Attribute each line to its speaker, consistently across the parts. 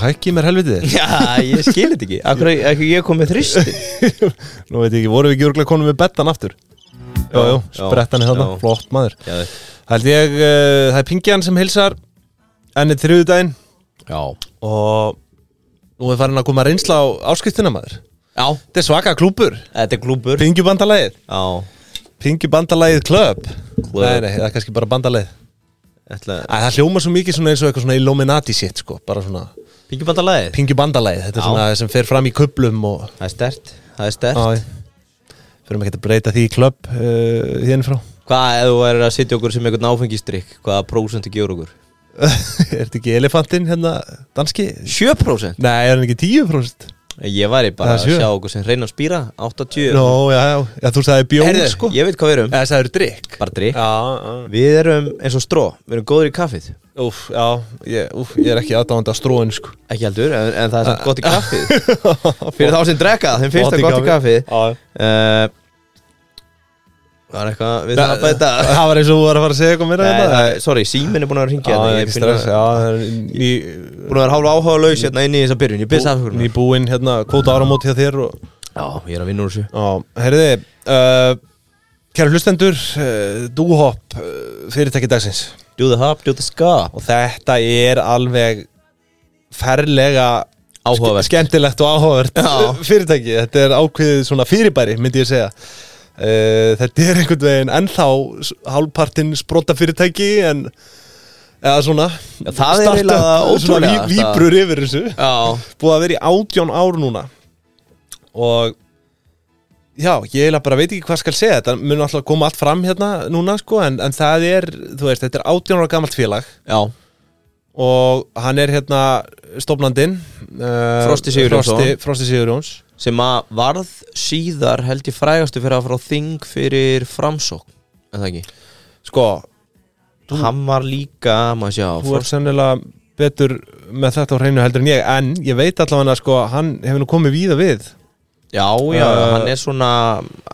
Speaker 1: hækki mér helvitið
Speaker 2: Já, ég skil þetta ekki Akkur ekki ég kom með þristi
Speaker 1: Nú veit ég ekki, voru við ekki örglega konum með bettan aftur Jú, jú,
Speaker 2: já,
Speaker 1: sprettan er þarna,
Speaker 2: já.
Speaker 1: flott maður
Speaker 2: Já,
Speaker 1: Held ég, uh, það er Pingjan sem hilsar Ennið þriðudaginn
Speaker 2: já,
Speaker 1: Og nú er farin að koma reynsla á áskiptina maður
Speaker 2: já
Speaker 1: Þetta er svaka klúpur
Speaker 2: þetta er klúbur
Speaker 1: Pingjubandalagið
Speaker 2: Já,
Speaker 1: Pingjubandalagið Club
Speaker 2: Club.
Speaker 1: Nei, nei, það er kannski bara bandalagið
Speaker 2: ætla
Speaker 1: Æ, það hljóma svo mikið svona eins og eitthvað svona Illuminati shit sko, bara svona
Speaker 2: Pingjubandalæðið
Speaker 1: pingjubandalagið, þetta er
Speaker 2: Já.
Speaker 1: svona það sem fer fram í kublum og
Speaker 2: Það er stert, það er stert
Speaker 1: Já, fyrir mig ekki að breyta því í klubb uh, hérna frá
Speaker 2: Hvað ef þú værir að sitja okkur sem einhvern áfengistrykk Hvaða prósentu gefur okkur?
Speaker 1: Er þetta ekki elefantinn hérna, danski?
Speaker 2: 7%
Speaker 1: Nei, er hann ekki 10%?
Speaker 2: Ég væri
Speaker 1: Það
Speaker 2: bara að
Speaker 1: er sjö.
Speaker 2: sjá okkur sem reyna að spýra 80
Speaker 1: Nó, já, já, já, þú sagði bjór
Speaker 2: Herðu,
Speaker 1: sko
Speaker 2: ég veit hvað við erum
Speaker 1: Eða sagði drikk
Speaker 2: Bara drikk
Speaker 1: Já,
Speaker 2: Við erum eins og stró, við erum góður í kaffið
Speaker 1: úf, já, ég, úf, ég er ekki aðdáðandi að stróin sko
Speaker 2: Ekki heldur, en, en það er samt gott í kaffið Fyrir þá sem drekka, þeim finnst það gott í kaffið
Speaker 1: Já,
Speaker 2: uh, Það er eitthvað við það að bæta
Speaker 1: Það var eins og þú var að fara að segja eitthvað mér
Speaker 2: Nei, það er- Sorry, síminn er búin að ringja
Speaker 1: Já,
Speaker 2: Ég er
Speaker 1: ekki
Speaker 2: búin að
Speaker 1: stress, já, það er ný,
Speaker 2: búinn að vera hálfa áhuga laus hérna inn í þessa byrjun Ég byrst afhverjum
Speaker 1: ný búinn hérna, kvóta áramót hjá þér og
Speaker 2: Já, ég er að vinna úr þessu
Speaker 1: Já, herriði uh, Kæra hlustendur uh, Dúhopp uh, fyrirtæki dagsins
Speaker 2: Do the hop, do the ska
Speaker 1: og þetta er alveg ferlega
Speaker 2: Áhugavert.
Speaker 1: ske- skemmtilegt og áhugavert
Speaker 2: Já.
Speaker 1: fyrirtæki, þetta er ákveðið svona fyrirbæri myndi ég segja uh, þetta er einhvern veginn ennþá s- hálfpartinn sprota fyrirtæki en eða svona
Speaker 2: Já, það er eiginlega
Speaker 1: svona
Speaker 2: ótrúlegasta.
Speaker 1: ví, víbrur yfir þessu
Speaker 2: Já,
Speaker 1: búið að vera í átjón ár núna og já, ég eiginlega bara veit ekki hvað skal segja þetta mun alltaf koma allt fram hérna núna sko, en, en það er, þú veist, þetta er átjón ára gamalt félag
Speaker 2: já,
Speaker 1: og hann er hérna stofnandinn uh,
Speaker 2: Frosti Sigurjónsson.
Speaker 1: Frosti, Frosti Sigurjóns
Speaker 2: sem að varð síðar held ég frægastu fyrir að fara á þing fyrir framsókn En það ekki
Speaker 1: sko,
Speaker 2: Hann var líka, maður sjá
Speaker 1: þú
Speaker 2: Frost,
Speaker 1: er sennilega betur með þetta á hreinu heldur en ég en ég veit allavega að sko, hann hefur nú komið víða við
Speaker 2: Já, já,
Speaker 1: Eh,
Speaker 2: hann er svona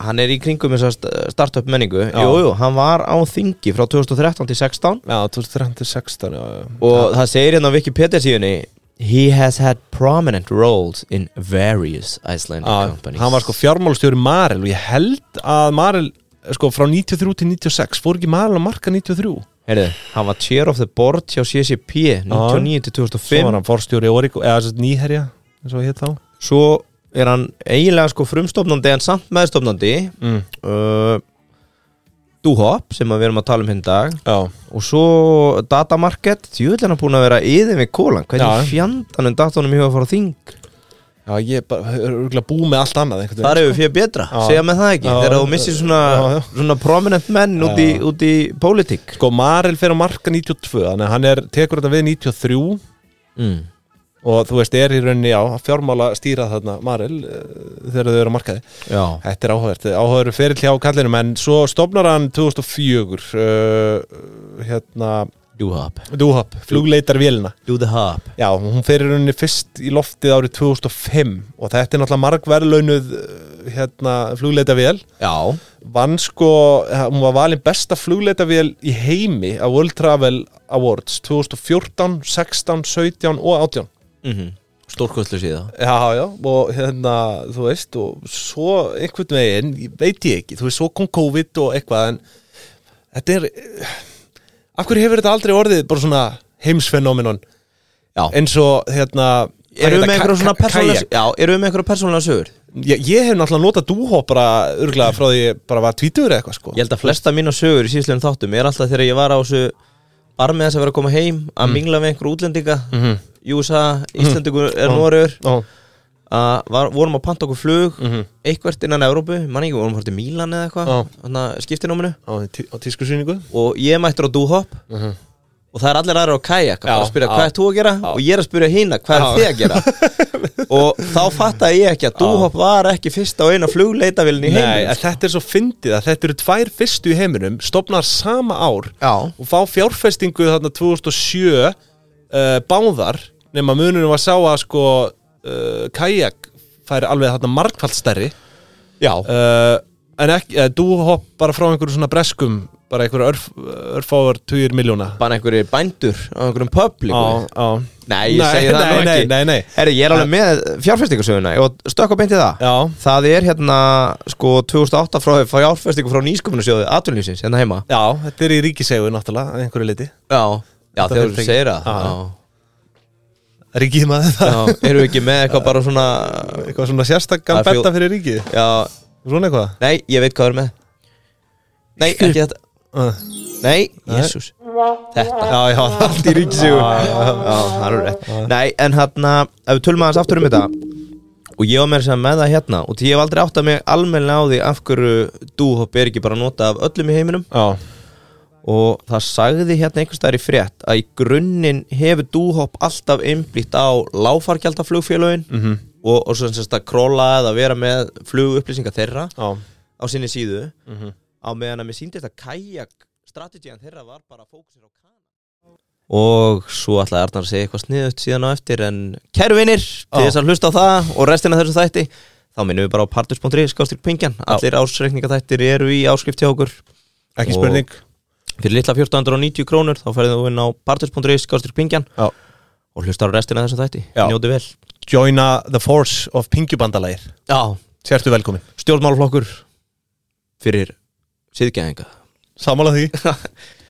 Speaker 2: Hann er í kringum þess að startup menningu
Speaker 1: Já.
Speaker 2: Jú, jú, hann var á þingi frá 2013 til 16
Speaker 1: já, 2016 já, já.
Speaker 2: Og það segir hérna á Wikipedia síðunni He has had prominent roles in various Icelandic
Speaker 1: Já,
Speaker 2: companies
Speaker 1: hann var sko fjármálstjóri Marel og ég held að Marel sko frá 93 til 96 fór ekki Marel að marka 93
Speaker 2: Heyrðu, hann var chair of the board hjá
Speaker 1: Ah.
Speaker 2: CCP 99 til
Speaker 1: svo
Speaker 2: 2005
Speaker 1: var hann forstjóri Origo eða þess að nýherja eins og hétt þá
Speaker 2: Svo er hann eiginlega sko frumstofnandi en samt meðstofnandi
Speaker 1: mm.
Speaker 2: uh, Duhop sem að við erum að tala um hinn dag
Speaker 1: já,
Speaker 2: og svo datamarket djúvill er hann búin að vera yfir með kólan
Speaker 1: Já.
Speaker 2: hvernig fjandanum datanum hefur að fara á þing
Speaker 1: já ég bara örgulega búið með allt annað einhvern
Speaker 2: Það
Speaker 1: veginn.
Speaker 2: eru fyrir betra,
Speaker 1: Já.
Speaker 2: segja með það ekki
Speaker 1: Já.
Speaker 2: Þegar þú missir svona,
Speaker 1: Já, já.
Speaker 2: svona prominent menn út í,
Speaker 1: Já.
Speaker 2: út í pólitík
Speaker 1: sko Marel fer að marka 92 þannig að hann er, tekur þetta við 93
Speaker 2: mm.
Speaker 1: og þú veist er í rauninni já, að fjármála stýra þarna Marel eh, þegar þau eru að marka þið
Speaker 2: Já
Speaker 1: Þetta er áhugavert, áhugaveru ferill hjá kallinum en svo stopnar hann 2004 uh, hérna
Speaker 2: Do hop
Speaker 1: Dúhop, flugleitar vélina
Speaker 2: Do the hop
Speaker 1: Já, hún fer í rauninni fyrst í loftið árið 2005 og þetta er náttúrulega margverðlaunuð uh, hérna, flugleitarvél
Speaker 2: Já
Speaker 1: vann sko, hún var valin besta flugleitarvél í heimi á World Travel Awards 2014, 16, 17 og 18
Speaker 2: mm -hmm. Stórkostlu síða
Speaker 1: Já, já, og hérna, þú veist og svo einhvern veginn, ég veit ég ekki þú veist, svo kom COVID og eitthvað en þetta er af hverju hefur þetta aldrei orðið bara svona heimsfenóminon
Speaker 2: Já
Speaker 1: eins og hérna
Speaker 2: Erum við með einhverja svona persónulega
Speaker 1: persónulega
Speaker 2: Já, erum við með einhverja persónulega sögur
Speaker 1: ég, ég hef náttúrulega notað dúhó bara örgulega frá því ég bara var tvítur eða eitthvað sko
Speaker 2: Ég held að flesta mína sögur í síðslegum þáttum er alltaf þegar ég var á þessu Armið þess að vera að koma heim Að mingla með einhverju útlendinga mm -hmm. Júsa, Íslandingur er Noregur
Speaker 1: Ó,
Speaker 2: að var, vorum að panta okkur flug eitthvert innan Evrópu, mann ekki, vorum að fara til Mílan eða
Speaker 1: Já.
Speaker 2: eitthvað, þannig að skiptinóminu
Speaker 1: á, tí, á tískusýningu
Speaker 2: og ég er mættur á dúhopp og það er allir aðra á kajak að
Speaker 1: Mhm. Já,
Speaker 2: fara að spyrja
Speaker 1: já.
Speaker 2: hvað er þú að gera og ég er að spyrja hína hvað er
Speaker 1: Já.
Speaker 2: þið að gera og þá fattaði ég ekki að dúhopp var ekki fyrst á eina flugleitavilin í
Speaker 1: Nei,
Speaker 2: heiminum sko.
Speaker 1: en þetta er svo fyndið að þetta eru tvær fyrstu í heiminum stopnar sama ár
Speaker 2: Já,
Speaker 1: og fá fjárfestingu þarna 2007 uh, báðar nema mununum var sá að sko uh, kajak færi alveg þarna eh, margfald stærri
Speaker 2: já, Eh,
Speaker 1: uh, en ekki, uh, dúhopp bara frá einhverju svona breskum bara bara einhver örf, eh, örfáar tugir miljóna
Speaker 2: bara einhverju bændur á einhverjum publiku
Speaker 1: á, á.
Speaker 2: Nei, ég segi það
Speaker 1: nei,
Speaker 2: nú
Speaker 1: nei,
Speaker 2: ekki.
Speaker 1: nei, nei.
Speaker 2: Herri, ég er alveg með fjárfestingasöguna og stökk og beinti það
Speaker 1: Já,
Speaker 2: Það er hérna sko 2008 frá fjárfestingu frá nýsköpunarsjóðu atvinnlýsins hérna heima
Speaker 1: já, þetta er í ríkisegu náttúrulega, að einhverju liti
Speaker 2: Já, já
Speaker 1: Þetta
Speaker 2: þegar þú
Speaker 1: fyrirtæki.
Speaker 2: segir það
Speaker 1: Já.
Speaker 2: já.
Speaker 1: Ríkið maður
Speaker 2: Já.
Speaker 1: það,
Speaker 2: Erum við ekki með eitthvað bara svona
Speaker 1: eitthvað svona sérstakkan
Speaker 2: Það er fjó-
Speaker 1: betta fyrir ríkið
Speaker 2: Já,
Speaker 1: Svona eitthvað
Speaker 2: nei, ég veit hvað við erum með Nei, ekki þetta
Speaker 1: Uh.
Speaker 2: Nei, jésús Þetta
Speaker 1: Já, já, það er allt í ríkisegu
Speaker 2: Já, það er rétt Nei, en hérna, ef við tölum aðeins aftur um þetta Og ég var meira að segja með það hérna Og því ég hef aldrei átt að mig almennilega á því Af hverju dúhopp er ekki bara að nota af öllum í heiminum
Speaker 1: Já,
Speaker 2: og það sagði hérna einhvers staðar í frétt að í grunninn hefur dúhopp alltaf einblýtt á láfargjaldaflugfélögin -hmm. og, og svo sem sagt að króla eða vera með flugupplýsingar þeirra
Speaker 1: já,
Speaker 2: á sinni síðu á meðan að mér síndist að kajak strategían þeirra var bara fókusir á kana og svo ætlaði Arnar að segja eitthvað sniðut síðan á eftir en kæru vinir, til
Speaker 1: Já.
Speaker 2: þess að hlusta á það og restina af þessum þætti þá minnum við bara á partus.ri skástir pingjan, allir ásreikningatættir eru í áskrift hjá okkur
Speaker 1: ekki
Speaker 2: Og-
Speaker 1: spurning
Speaker 2: fyrir litla 1490 krónur þá færðu þú inn á partus.is skástur pingjan
Speaker 1: Já.
Speaker 2: og hlustar á restina af þessum þætti
Speaker 1: Já.
Speaker 2: njóti vel
Speaker 1: Joina the force of pingjubandalægir
Speaker 2: Já.
Speaker 1: Sértu velkomin
Speaker 2: stjórnmálflokkur fyrir síðgæðinga
Speaker 1: Samála því